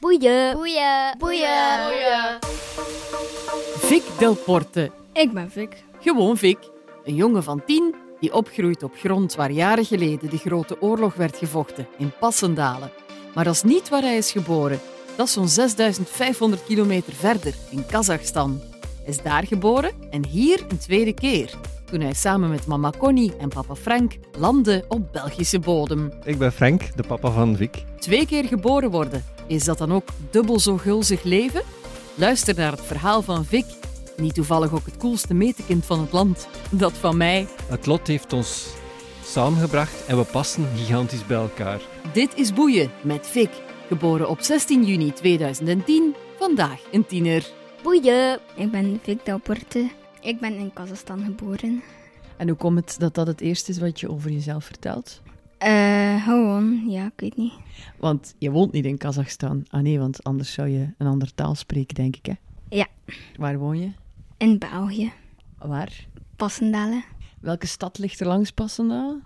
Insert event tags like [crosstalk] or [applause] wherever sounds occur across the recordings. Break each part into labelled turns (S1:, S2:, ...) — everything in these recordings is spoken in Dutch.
S1: Boeien.
S2: Boeien.
S1: Boeien.
S3: Vic Delporte.
S4: Ik ben Vic.
S3: Gewoon Vic. Een jongen van tien die opgroeit op grond waar jaren geleden de grote oorlog werd gevochten, in Passendalen. Maar dat is niet waar hij is geboren. Dat is zo'n 6500 kilometer verder, in Kazachstan. Hij is daar geboren en hier een tweede keer. Toen hij samen met mama Connie en papa Frank landde op Belgische bodem.
S5: Ik ben Frank, de papa van Vic.
S3: Twee keer geboren worden, is dat dan ook dubbel zo gulzig leven? Luister naar het verhaal van Vic. Niet toevallig ook het coolste metekind van het land. Dat van mij.
S5: Het lot heeft ons samengebracht en we passen gigantisch bij elkaar.
S3: Dit is Boeien met Vic. Geboren op 16 juni 2010. Vandaag een tiener.
S1: Boeien.
S4: Ik ben Vic Delporte.
S2: Ik ben in Kazachstan geboren.
S4: En hoe komt het dat dat het eerste is wat je over jezelf vertelt? Eh, gewoon, ja, ik weet niet.
S6: Want je woont niet in Kazachstan. Ah nee, want anders zou je een andere taal spreken, denk ik, hè?
S2: Ja.
S6: Waar woon je?
S2: In België.
S6: Waar?
S2: Passendalen.
S6: Welke stad ligt er langs Passendale?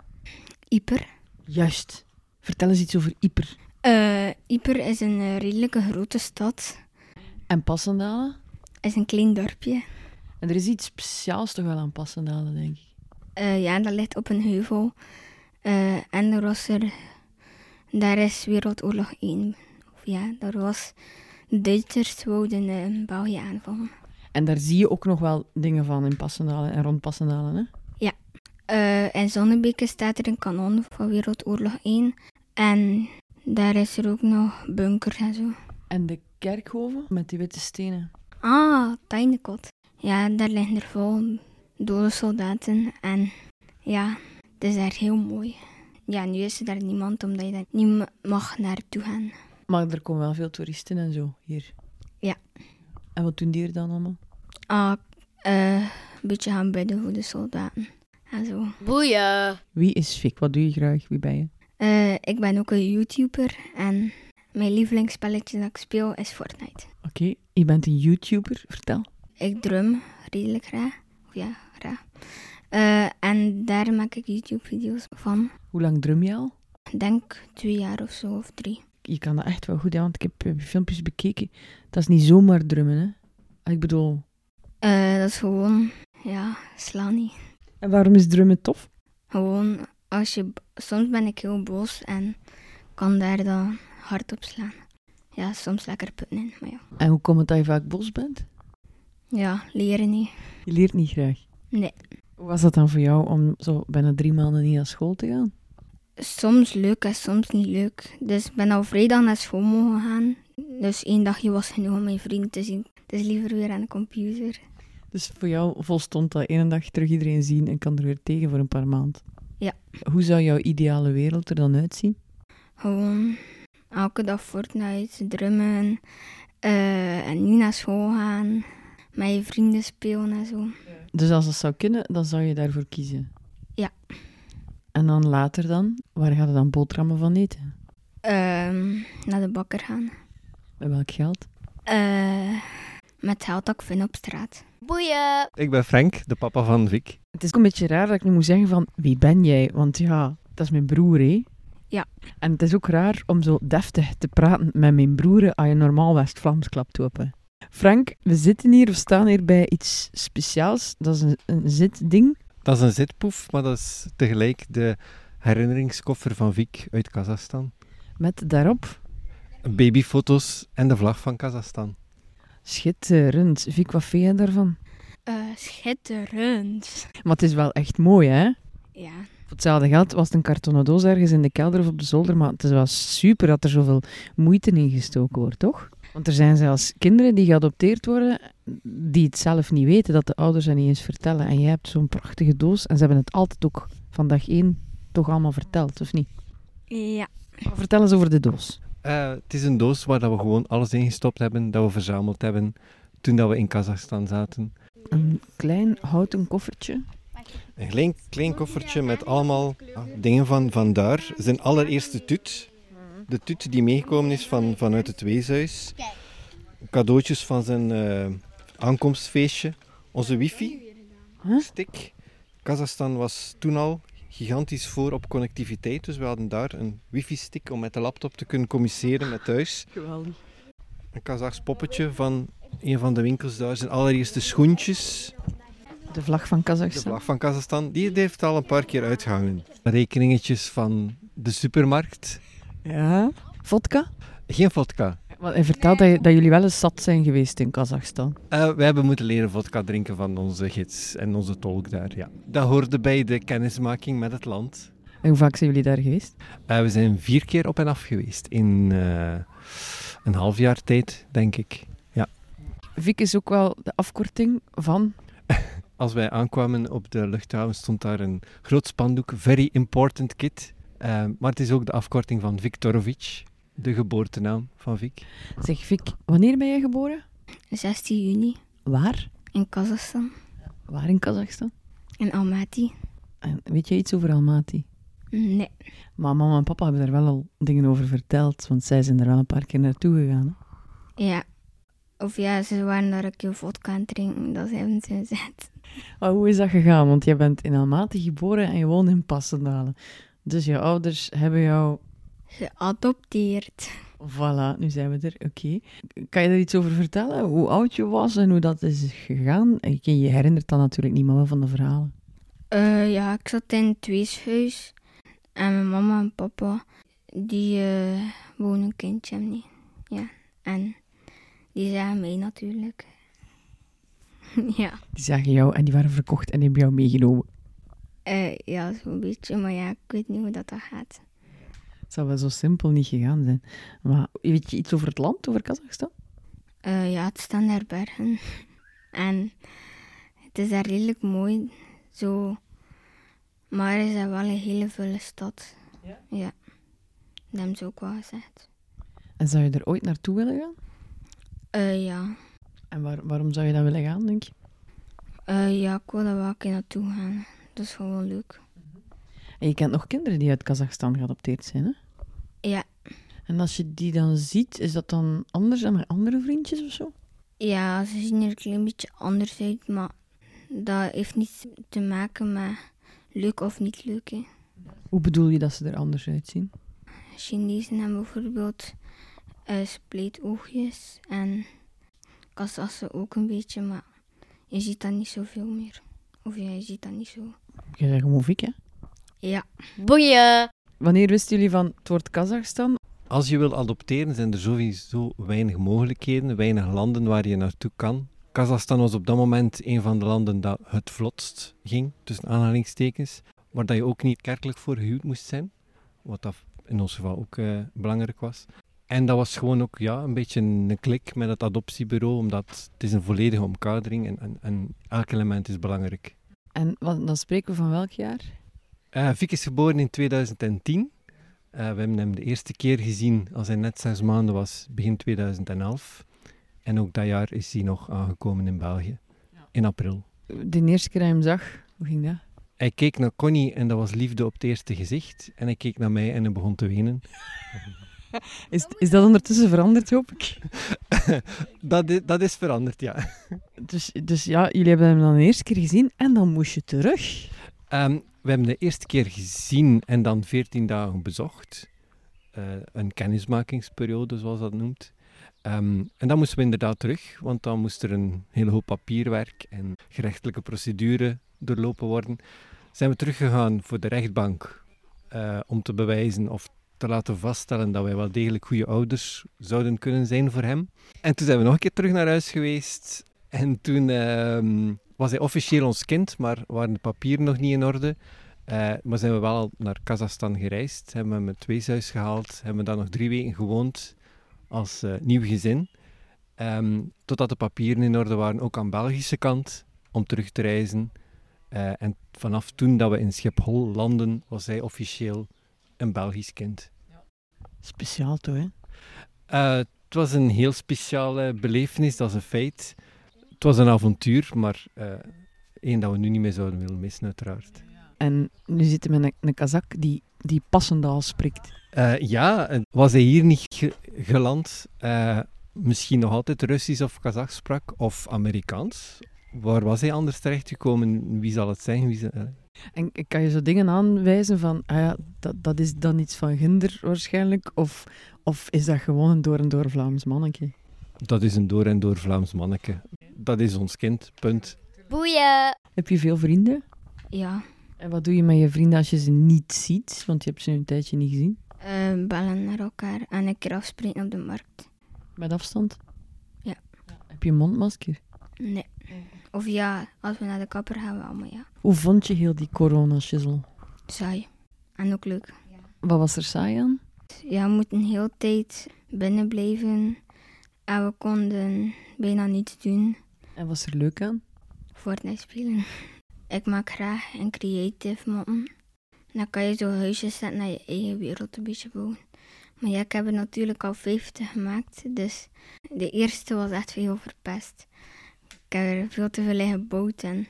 S2: Yper.
S6: Juist. Vertel eens iets over Yper.
S2: Eh Yper is een eh, redelijke grote stad.
S6: En Passendale?
S2: Is een klein dorpje.
S6: En er is iets speciaals toch wel aan Passendale, denk ik.
S2: Eh, ja, dat ligt op een heuvel. Eh, en er was er... Daar is Wereldoorlog 1. Of ja, daar was... De Duitsers wouden eh, België aanvallen.
S6: En daar zie je ook nog wel dingen van in Passendale en rond Passendale, hè?
S2: Eh, in Zonnebeke staat er een kanon van Wereldoorlog 1. En daar is er ook nog bunkers en zo.
S6: En de kerkhoven met die witte stenen.
S2: Ah, Tijnenkot. Ja, daar liggen er vol dode soldaten. En ja, het is daar heel mooi. Ja, nu is er daar niemand omdat je daar niet m- mag naartoe gaan.
S6: Maar er komen wel veel toeristen en zo hier.
S2: Ja.
S6: En wat doen die er dan allemaal?
S2: Ah, eh, een beetje gaan bidden voor de soldaten. En zo.
S1: Boeien.
S6: Wie is Fik? Wat doe je graag? Wie ben je?
S2: Eh, ik ben ook een YouTuber. En mijn lievelingsspelletje dat ik speel is Fortnite.
S6: Oké, je bent een YouTuber. Vertel.
S2: Ik drum redelijk graag. Of Ja, graag. Eh, en daar maak ik YouTube-video's van.
S6: Hoe lang drum je al?
S2: Ik Denk twee jaar of zo, of drie.
S6: je kan dat echt wel goed, hè, want ik heb eh, filmpjes bekeken. Dat is niet zomaar drummen, hè? Ah, Ik bedoel,
S2: Eh, dat is gewoon, ja, sla niet.
S6: en waarom is drummen tof?
S2: Gewoon, als je, soms ben ik heel boos en kan daar dan hard op slaan. Ja, soms lekker putten in, maar ja.
S6: En hoe komt het dat je vaak bos bent?
S2: Ja, leren niet.
S6: Je leert niet graag.
S2: Nee.
S6: Hoe was dat dan voor jou om zo bijna drie maanden niet naar school te gaan?
S2: Soms leuk en soms niet leuk. Dus ik ben al vrijdag naar school mogen gaan. Dus één dagje was genoeg om mijn vrienden te zien. Dus liever weer aan de computer.
S6: Dus voor jou volstond dat één dag terug iedereen zien en kan er weer tegen voor een paar maanden.
S2: Ja.
S6: Hoe zou jouw ideale wereld er dan uitzien?
S2: Gewoon elke dag Fortnite, drummen. eh, en nu naar school gaan. Met je vrienden spelen en zo.
S6: Dus als dat zou kunnen, dan zou je daarvoor kiezen?
S2: Ja.
S6: En dan later dan? Waar gaat er dan boterhammen van eten?
S2: Ehm, naar de bakker gaan.
S6: Met welk geld?
S2: Eh, met geld dat ik vind op straat.
S1: Boeien.
S5: Ik ben Frank, de papa van Vic.
S6: Het is ook een beetje raar dat ik nu moet zeggen van wie ben jij? Want ja, dat is mijn broer, hè?
S2: Ja.
S6: En het is ook raar om zo deftig te praten met mijn broer als je normaal West-Vlaams klapt open. Frank, we zitten hier, we staan hier bij iets speciaals. Dat is een, een zitding.
S5: Dat is een zitpoef, maar dat is tegelijk de herinneringskoffer van Vic uit Kazachstan.
S6: Met daarop,
S5: Babyfoto's en de vlag van Kazachstan.
S6: schitterend. Vic, wat vind je daarvan?
S2: Eh, schitterend.
S6: Maar het is wel echt mooi, hè?
S2: Ja.
S6: Voor hetzelfde geld was het een kartonnen doos ergens in de kelder of op de zolder, maar het is wel super dat er zoveel moeite in gestoken wordt, toch? Want er zijn zelfs kinderen die geadopteerd worden, die het zelf niet weten, dat de ouders hen niet eens vertellen. En jij hebt zo'n prachtige doos en ze hebben het altijd ook van dag één toch allemaal verteld, of niet?
S2: Ja.
S6: Maar vertel eens over de doos.
S5: Eh, het is een doos waar dat we gewoon alles in gestopt hebben, dat we verzameld hebben toen dat we in Kazachstan zaten.
S6: Een klein houten koffertje.
S5: Een klein, klein koffertje met allemaal ah, dingen van, van daar. Zijn allereerste tut. De tut die meegekomen is van, vanuit het weeshuis. Cadeautjes van zijn eh, aankomstfeestje. Onze wifi.
S6: Huh?
S5: Stick. Kazachstan was toen al gigantisch voor op connectiviteit. Dus we hadden daar een wifi-stick om met de laptop te kunnen communiceren met thuis.
S6: Geweldig.
S5: een Kazachs poppetje van een van de winkels daar. Zijn allereerste schoentjes.
S6: De vlag van
S5: De
S6: Kazachstan.
S5: vlag van Kazachstan, die die heeft al een paar keer uitgehangen. Rekeningetjes van de supermarkt.
S6: Ja. Vodka?
S5: Geen vodka.
S6: Want hij vertelt dat, je- dat jullie wel eens zat zijn geweest in Kazachstan.
S5: Eh, wij hebben moeten leren vodka drinken van onze gids en onze tolk daar. Ja. Dat hoorde bij de kennismaking met het land.
S6: En hoe vaak zijn jullie daar geweest?
S5: Eh, we zijn vier keer op en af geweest in eh, een half jaar tijd, denk ik.
S6: Vik is ook wel de afkorting van...
S5: Als wij aankwamen op de luchthaven stond daar een groot spandoek, Very Important Kid. Eh, maar het is ook de afkorting van Viktorovic, de geboortenaam van Vik.
S6: Zeg Vik, wanneer ben jij geboren?
S2: 16 juni
S6: Waar?
S2: in Kazachstan,
S6: Waar in Kazachstan?
S2: in Almaty.
S6: En weet jij iets over Almaty?
S2: Nee,
S6: Maar mama en papa hebben daar wel al dingen over verteld, want zij zijn er wel een paar keer naartoe gegaan. hè?
S2: ja. Of ja, ze waren daar een keer vodka aan het drinken, dat hebben ze gezegd.
S6: Maar hoe is dat gegaan? Want jij bent in Almaty geboren en je woont in Passendalen. Dus je ouders hebben jou...
S2: Geadopteerd.
S6: Voilà, nu zijn we er. Oké. Kan je daar iets over vertellen? Hoe oud je was en hoe dat is gegaan? En Je je herinnert dat natuurlijk niet, maar wel van de verhalen.
S2: Eh, ja, ik zat in het weeshuis. En mijn mama en papa, die eh, wonen een kindje hebben niet. Ja, en die zagen mij natuurlijk. [laughs] ja.
S6: Die zagen jou en die waren verkocht en die hebben jou meegenomen.
S2: Eh, ja, zo'n beetje, maar ja, ik weet niet hoe dat, dat gaat.
S6: Het zou wel zo simpel niet gegaan zijn. Maar weet je iets over het land, over Kazachstan?
S2: Eh, ja, het staan daar bergen. [laughs] en het is daar redelijk mooi, zo. Maar is dat wel een hele vuile stad. Ja? Ja. Dat hebben ze ook wel gezegd.
S6: En zou je er ooit naartoe willen gaan?
S2: Eh, ja.
S6: En waar- waarom zou je dat willen gaan, denk je?
S2: Eh, ja, ik wil daar wel een keer naartoe gaan. Dat is gewoon leuk.
S6: En je kent nog kinderen die uit Kazachstan geadopteerd zijn, hè?
S2: Ja.
S6: En als je die dan ziet, is dat dan anders dan met andere vriendjes of zo?
S2: Ja, ze zien er een klein beetje anders uit, maar dat heeft niets te maken met leuk of niet leuk. Hè.
S6: Hoe bedoel je dat ze er anders uitzien?
S2: Chinezen hebben bijvoorbeeld eh spleetoogjes en kasassen ook een beetje, maar je ziet dat niet zoveel meer. Of ja, je ziet dat niet zo.
S6: Je zegt gewoon fik, hè?
S2: Ja,
S1: Boeien.
S6: Wanneer wisten jullie van het wordt Kazachstan?
S5: Als je wil adopteren, zijn er sowieso weinig mogelijkheden, weinig landen waar je naartoe kan. Kazachstan was op dat moment een van de landen dat het vlotst ging, tussen aanhalingstekens, maar dat je ook niet kerkelijk voor gehuwd moest zijn, wat dat in ons geval ook eh, belangrijk was. En dat was gewoon ook ja, een beetje een klik met het adoptiebureau, omdat het is een volledige omkadering en, en, en elk element is belangrijk.
S6: En wat, dan spreken we van welk jaar?
S5: Eh Vic is geboren in 2010. Eh, we hebben hem de eerste keer gezien als hij net zes maanden was, begin 2011. En ook dat jaar is hij nog aangekomen in België, in april.
S6: De eerste keer dat je hem zag, hoe ging dat?
S5: Hij keek naar Connie en dat was liefde op het eerste gezicht. En hij keek naar mij en hij begon te wenen.
S6: Is, is dat ondertussen veranderd, hoop ik?
S5: Dat is, dat is veranderd, ja.
S6: Dus, dus ja, jullie hebben hem dan de eerste keer gezien en dan moest je terug.
S5: Ehm, we hebben de eerste keer gezien en dan 14 dagen bezocht. Eh, een kennismakingsperiode, zoals dat noemt. Ehm, en dan moesten we inderdaad terug, want dan moest er een hele hoop papierwerk en gerechtelijke procedure doorlopen worden. Zijn we teruggegaan voor de rechtbank eh, om te bewijzen of te laten vaststellen dat wij wel degelijk goede ouders zouden kunnen zijn voor hem. En toen zijn we nog een keer terug naar huis geweest en toen ehm, was hij officieel ons kind, maar waren de papieren nog niet in orde. Eh, maar zijn we wel al naar Kazachstan gereisd, hebben we hem het weeshuis gehaald, hebben we daar nog drie weken gewoond als eh, nieuw gezin. Ehm, totdat de papieren in orde waren, ook aan Belgische kant, om terug te reizen. Eh, en vanaf toen dat we in Schiphol landen, was hij officieel een Belgisch kind.
S6: Speciaal toch, hè?
S5: Eh, het was een heel speciale belevenis, dat is een feit. Het was een avontuur, maar eh één dat we nu niet meer zouden willen missen, uiteraard.
S6: En nu zitten we met een, een kazak die, die passendaal spreekt.
S5: Eh, ja, eh, was hij hier niet ge- geland, eh, misschien nog altijd Russisch of Kazachs sprak, of Amerikaans. Waar was hij anders terechtgekomen? Wie zal het zijn? Wie zal- eh,
S6: En kan je zo dingen aanwijzen van, ah ja, dat, dat is dan iets van ginder waarschijnlijk, of, of is dat gewoon een door en door Vlaams mannetje?
S5: Dat is een door en door Vlaams manneke. Dat is ons kind, punt.
S1: Boeien.
S6: Heb je veel vrienden?
S2: Ja,
S6: En wat doe je met je vrienden als je ze niet ziet? Want je hebt ze een tijdje niet gezien.
S2: eh, bellen naar elkaar en een keer afspreken op de markt.
S6: Met afstand?
S2: Ja.
S6: Heb je een mondmasker?
S2: Nee. Of ja, als we naar de kapper gaan, wel, maar ja.
S6: Hoe vond je heel die corona-shizzle?
S2: Saai. En ook leuk.
S6: Wat was er saai aan?
S2: Ja, we moeten heel de tijd binnen blijven. En we konden bijna niets doen.
S6: En was er leuk aan?
S2: Fortnite spelen. Ik maak graag een creative moppen. Dan kan je zo huisjes zetten naar je eigen wereld een beetje bouwen. Maar ja, ik heb er natuurlijk al 50 gemaakt. Dus de eerste was echt veel verpest. Ik heb er veel te veel in gebouwd. En,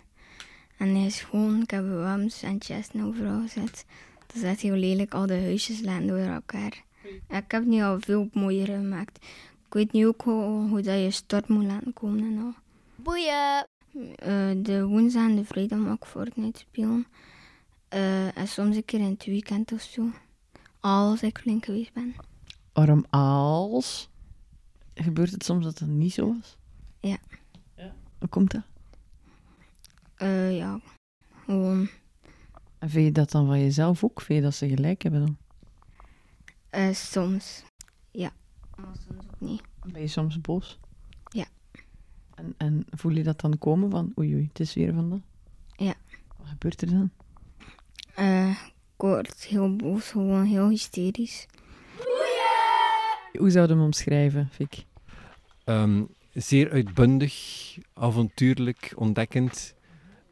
S2: en hij is gewoon, ik heb wams en chesten overal gezet. Dat is echt heel lelijk, al de huisjes laten door elkaar. Ja, ik heb nu al veel mooier gemaakt. Ik weet nu ook hoe, hoe dat je stort moet laten komen en al.
S1: Boeien.
S2: Eh, de woensdag en de vrijdag mag ik Fortnite spelen. Eh, en soms een keer in het weekend of zo. Als ik flink geweest ben.
S6: Waarom als? Gebeurt het soms dat dat niet zo was?
S2: Ja.
S6: Hoe komt dat?
S2: Eh, ja, gewoon
S6: En vind je dat dan van jezelf ook? Vind je dat ze gelijk hebben dan?
S2: eh, soms. Ja, maar soms ook niet.
S6: Ben je soms boos?
S2: Ja.
S6: En, en voel je dat dan komen van oei oei, het is weer van dat?
S2: Ja.
S6: Wat gebeurt er dan?
S2: Eh, ik word heel boos, gewoon heel hysterisch.
S6: Hoe zou je hem omschrijven, Fik?
S5: Ehm, zeer uitbundig, avontuurlijk, ontdekkend,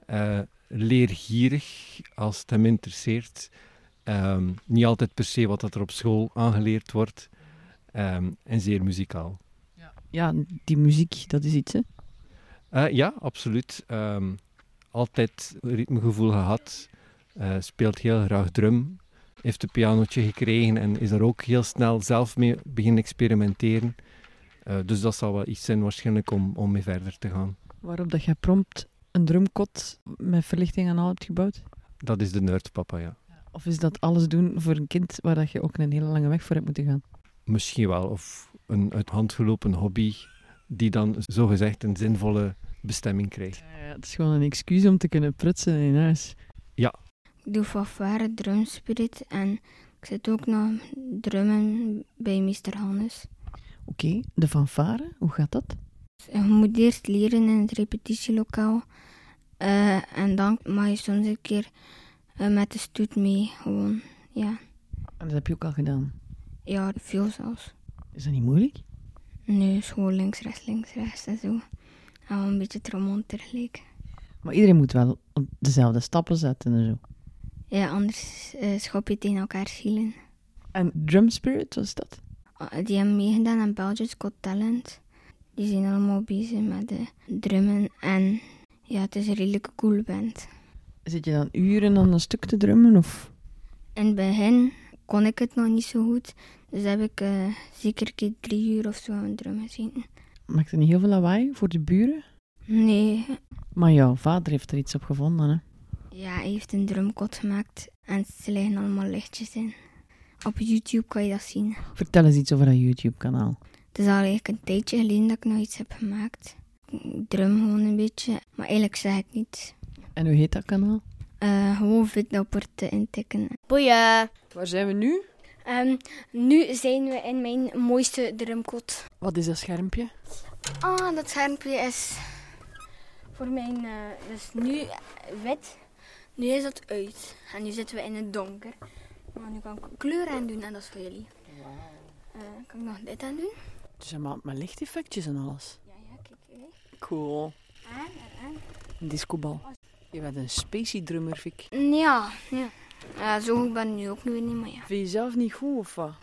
S5: eh, leergierig als het hem interesseert. Ehm, niet altijd per se wat dat er op school aangeleerd wordt. Ehm, en zeer muzikaal.
S6: Ja, die muziek, dat is iets hè?
S5: Eh, ja, absoluut. Ehm, altijd ritmegevoel gehad. Eh, speelt heel graag drum. Heeft een pianotje gekregen en is er ook heel snel zelf mee beginnen experimenteren. Eh, dus dat zal wel iets zijn waarschijnlijk om, om mee verder te gaan.
S6: Waarop dat jij prompt een drumkot met verlichting aan al hebt gebouwd?
S5: Dat is de nerdpapa, ja.
S6: Of is dat alles doen voor een kind waar dat je ook een hele lange weg voor hebt moeten gaan?
S5: Misschien wel. Of een uit hand gelopen hobby die dan zogezegd een zinvolle bestemming krijgt.
S6: Ja, Eh, het is gewoon een excuus om te kunnen prutsen in huis.
S2: Ik doe fanfare, drumspirit en ik zit ook nog drummen bij meester Hannes.
S6: Oké, de fanfare, hoe gaat dat?
S2: Je moet eerst leren in het repetitielokaal. Eh, en dan mag je soms een keer eh, met de stoet mee. Gewoon, ja.
S6: En dat heb je ook al gedaan.
S2: Ja, veel zelfs.
S6: Is dat niet moeilijk?
S2: Nu is gewoon links, rechts, links, rechts en zo. En wel een beetje trommel tegelijk.
S6: Maar iedereen moet wel op dezelfde stappen zetten en zo.
S2: Ja, anders eh, schop je tegen elkaar schielen.
S6: En Drum Spirit, wat is dat?
S2: Ah, die hebben meegedaan aan Belgium's Got Talent. Die zijn allemaal bezig met de drummen. En ja, het is een redelijk cool band.
S6: Zit je dan uren aan een stuk te drummen? Of...
S2: In het begin kon ik het nog niet zo goed. Dus heb ik eh, zeker een keer drie uur of zo aan het drummen gezeten.
S6: Maakt het niet heel veel lawaai voor de buren?
S2: Nee,
S6: Maar jouw vader heeft er iets op gevonden, hè?
S2: ja, hij heeft een drumkot gemaakt en ze liggen allemaal lichtjes in. Op YouTube kan je dat zien.
S6: Vertel eens iets over dat YouTube-kanaal.
S2: Het is al eigenlijk een tijdje geleden dat ik nog iets heb gemaakt. Ik drum gewoon een beetje, maar eigenlijk zeg ik niets.
S6: En hoe heet dat kanaal?
S2: Eh gewoon Vitdapper te intikken.
S1: Boeien.
S6: Waar zijn we nu?
S7: Ehm, nu zijn we in mijn mooiste drumkot.
S6: Wat is dat schermpje?
S7: Ah, dat schermpje is voor mijn. eh, dus nu wit. Nu is dat uit. En nu zitten we in het donker. Maar nu kan ik kleur aan doen en dat is voor jullie. Eh, kan ik nog dit aan doen?
S6: Dus hij maakt met lichteffectjes en alles.
S7: Ja, ja, kijk. hè.
S6: Cool.
S7: Aan en aan.
S6: Een discobal. Je bent een spacey drummer, Fik.
S7: Ja, ja. Ja, zo goed ben ik nu ook nu weer niet, maar ja.
S6: Vind je zelf niet goed of wat?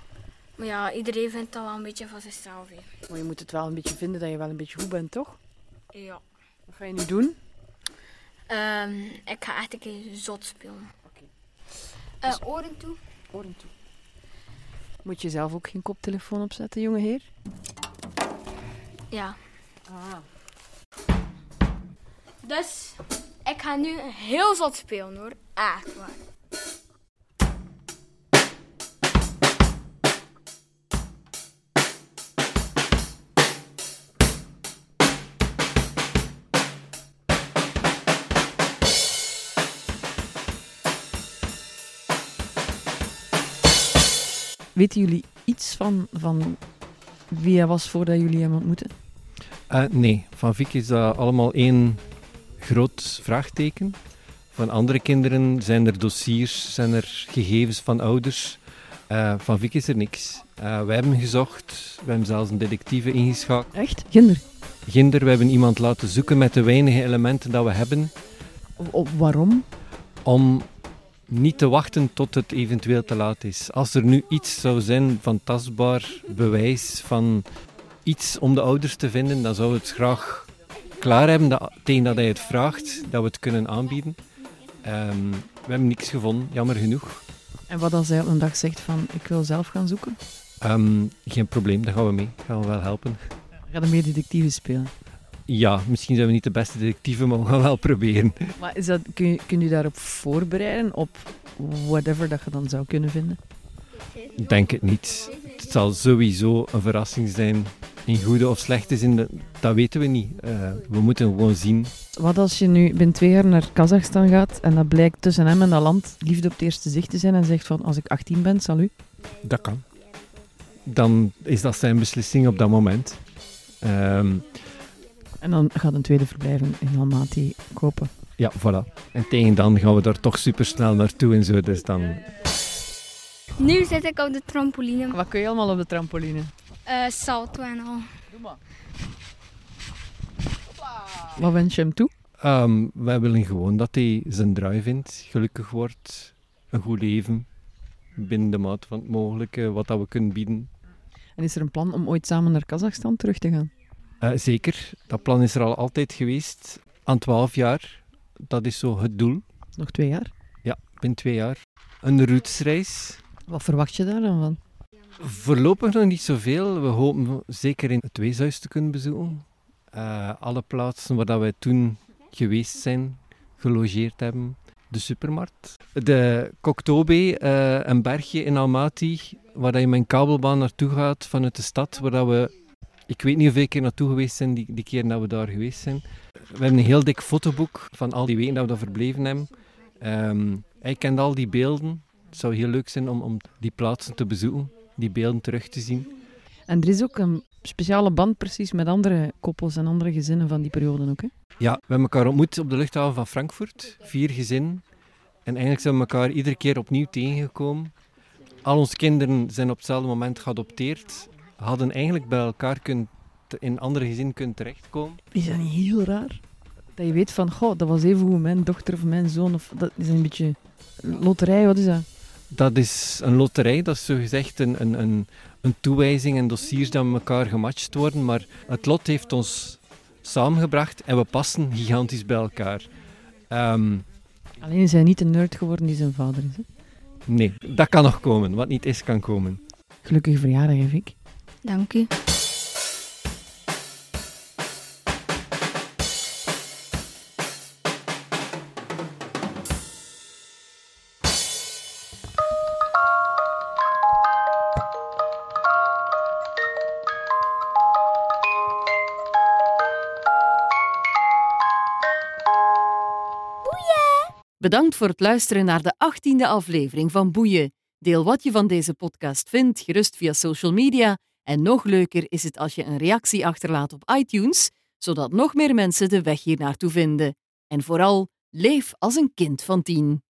S7: Maar ja, iedereen vindt dat wel een beetje van zichzelf. hè.
S6: Maar je moet het wel een beetje vinden dat je wel een beetje goed bent, toch?
S7: Ja.
S6: Wat ga je nu doen?
S7: Ehm, ik ga echt een keer zot spelen.
S6: Oké.
S7: Eh, oren toe.
S6: Oren toe. Moet je zelf ook geen koptelefoon opzetten, jongeheer?
S7: Ja. Dus ik ga nu heel zot spelen hoor. Echt waar.
S6: Weten jullie iets van, van wie hij was voordat jullie hem ontmoetten?
S5: Eh, nee, van Vic is dat allemaal één groot vraagteken. Van andere kinderen zijn er dossiers, zijn er gegevens van ouders. Eh, van Vic is er niks. Eh, wij hebben hem gezocht, we hebben zelfs een detectieve ingeschakeld.
S6: Echt? Ginder?
S5: Ginder, we hebben iemand laten zoeken met de weinige elementen dat we hebben,
S6: O- waarom?
S5: om niet te wachten tot het eventueel te laat is. Als er nu iets zou zijn van tastbaar bewijs van iets om de ouders te vinden, dan zouden we het graag klaar hebben dat, tegen dat hij het vraagt, dat we het kunnen aanbieden. Ehm, we hebben niks gevonden, jammer genoeg.
S6: En wat als hij op een dag zegt van, ik wil zelf gaan zoeken?
S5: Ehm, geen probleem, daar gaan we mee. Gaan we wel helpen.
S6: Ga dan meer detectieve spelen.
S5: Ja, misschien zijn we niet de beste detectieven, maar we gaan wel proberen.
S6: Maar is dat, kun, je, kun je daarop voorbereiden op whatever dat je dan zou kunnen vinden?
S5: Denk het niet. Het zal sowieso een verrassing zijn. In goede of slechte zin, dat- dat weten we niet. Eh, we moeten gewoon zien.
S6: Wat als je nu binnen twee jaar naar Kazachstan gaat en dat blijkt tussen hem en dat land liefde op het eerste zicht te zijn en zegt van als ik 18 ben, salu.
S5: Dat kan. Dan is dat zijn beslissing op dat moment. Ehm,
S6: En dan gaat een tweede verblijf in- in Almaty kopen.
S5: ja, voilà. En tegen dan gaan we daar toch supersnel naartoe en zo. Dus dan
S2: Nu zit ik op de trampoline.
S6: Wat kun je allemaal op de trampoline?
S2: eh salto en al.
S6: Wat wens je hem toe?
S5: Ehm, wij willen gewoon dat hij zijn draai vindt, gelukkig wordt, een goed leven, binnen de maat van het mogelijke, wat dat we kunnen bieden.
S6: En is er een plan om ooit samen naar Kazachstan terug te gaan?
S5: Eh, zeker, dat plan is er al altijd geweest. Aan 12 jaar, dat is zo het doel,
S6: Nog twee jaar.
S5: binnen twee jaar. Een routesreis.
S6: Wat verwacht je daar dan van?
S5: Voorlopig nog niet zoveel. We hopen zeker in het weeshuis te kunnen bezoeken. Eh, alle plaatsen waar dat wij toen geweest zijn, gelogeerd hebben. De supermarkt. De Koktobe, eh, een bergje in Almaty, waar dat je met een kabelbaan naartoe gaat vanuit de stad. Waar dat we, ik weet niet hoeveel keer naartoe geweest zijn, die, die keer dat we daar geweest zijn. We hebben een heel dik fotoboek van al die weken dat we daar verbleven hebben. Ehm hij kent al die beelden. Het zou heel leuk zijn om, om die plaatsen te bezoeken, die beelden terug te zien.
S6: En er is ook een speciale band precies met andere koppels en andere gezinnen van die periode ook. Hè?
S5: Ja, we hebben elkaar ontmoet op de luchthaven van Frankfurt. Vier gezinnen. En eigenlijk zijn we elkaar iedere keer opnieuw tegengekomen. Al onze kinderen zijn op hetzelfde moment geadopteerd. Hadden eigenlijk bij elkaar kunnen, te- in andere gezinnen kunnen terechtkomen.
S6: Is dat niet heel raar? Dat je weet van, goh, dat was even hoe mijn dochter of mijn zoon of dat is een beetje loterij, wat is dat?
S5: Dat is een loterij, dat is zogezegd een, een, een, een toewijzing en dossiers dat met elkaar gematcht worden. Maar het lot heeft ons samengebracht en we passen gigantisch bij elkaar. Ehm,
S6: Alleen is hij niet de nerd geworden die zijn vader is. Hè?
S5: nee, dat kan nog komen. Wat niet is, kan komen.
S6: Gelukkig verjaardag, hè, Vic.
S2: Dank u.
S3: Bedankt voor het luisteren naar de 18e aflevering van Boeien. Deel wat je van deze podcast vindt, gerust via social media. En nog leuker is het als je een reactie achterlaat op iTunes, zodat nog meer mensen de weg hier naartoe vinden. En vooral, leef als een kind van tien.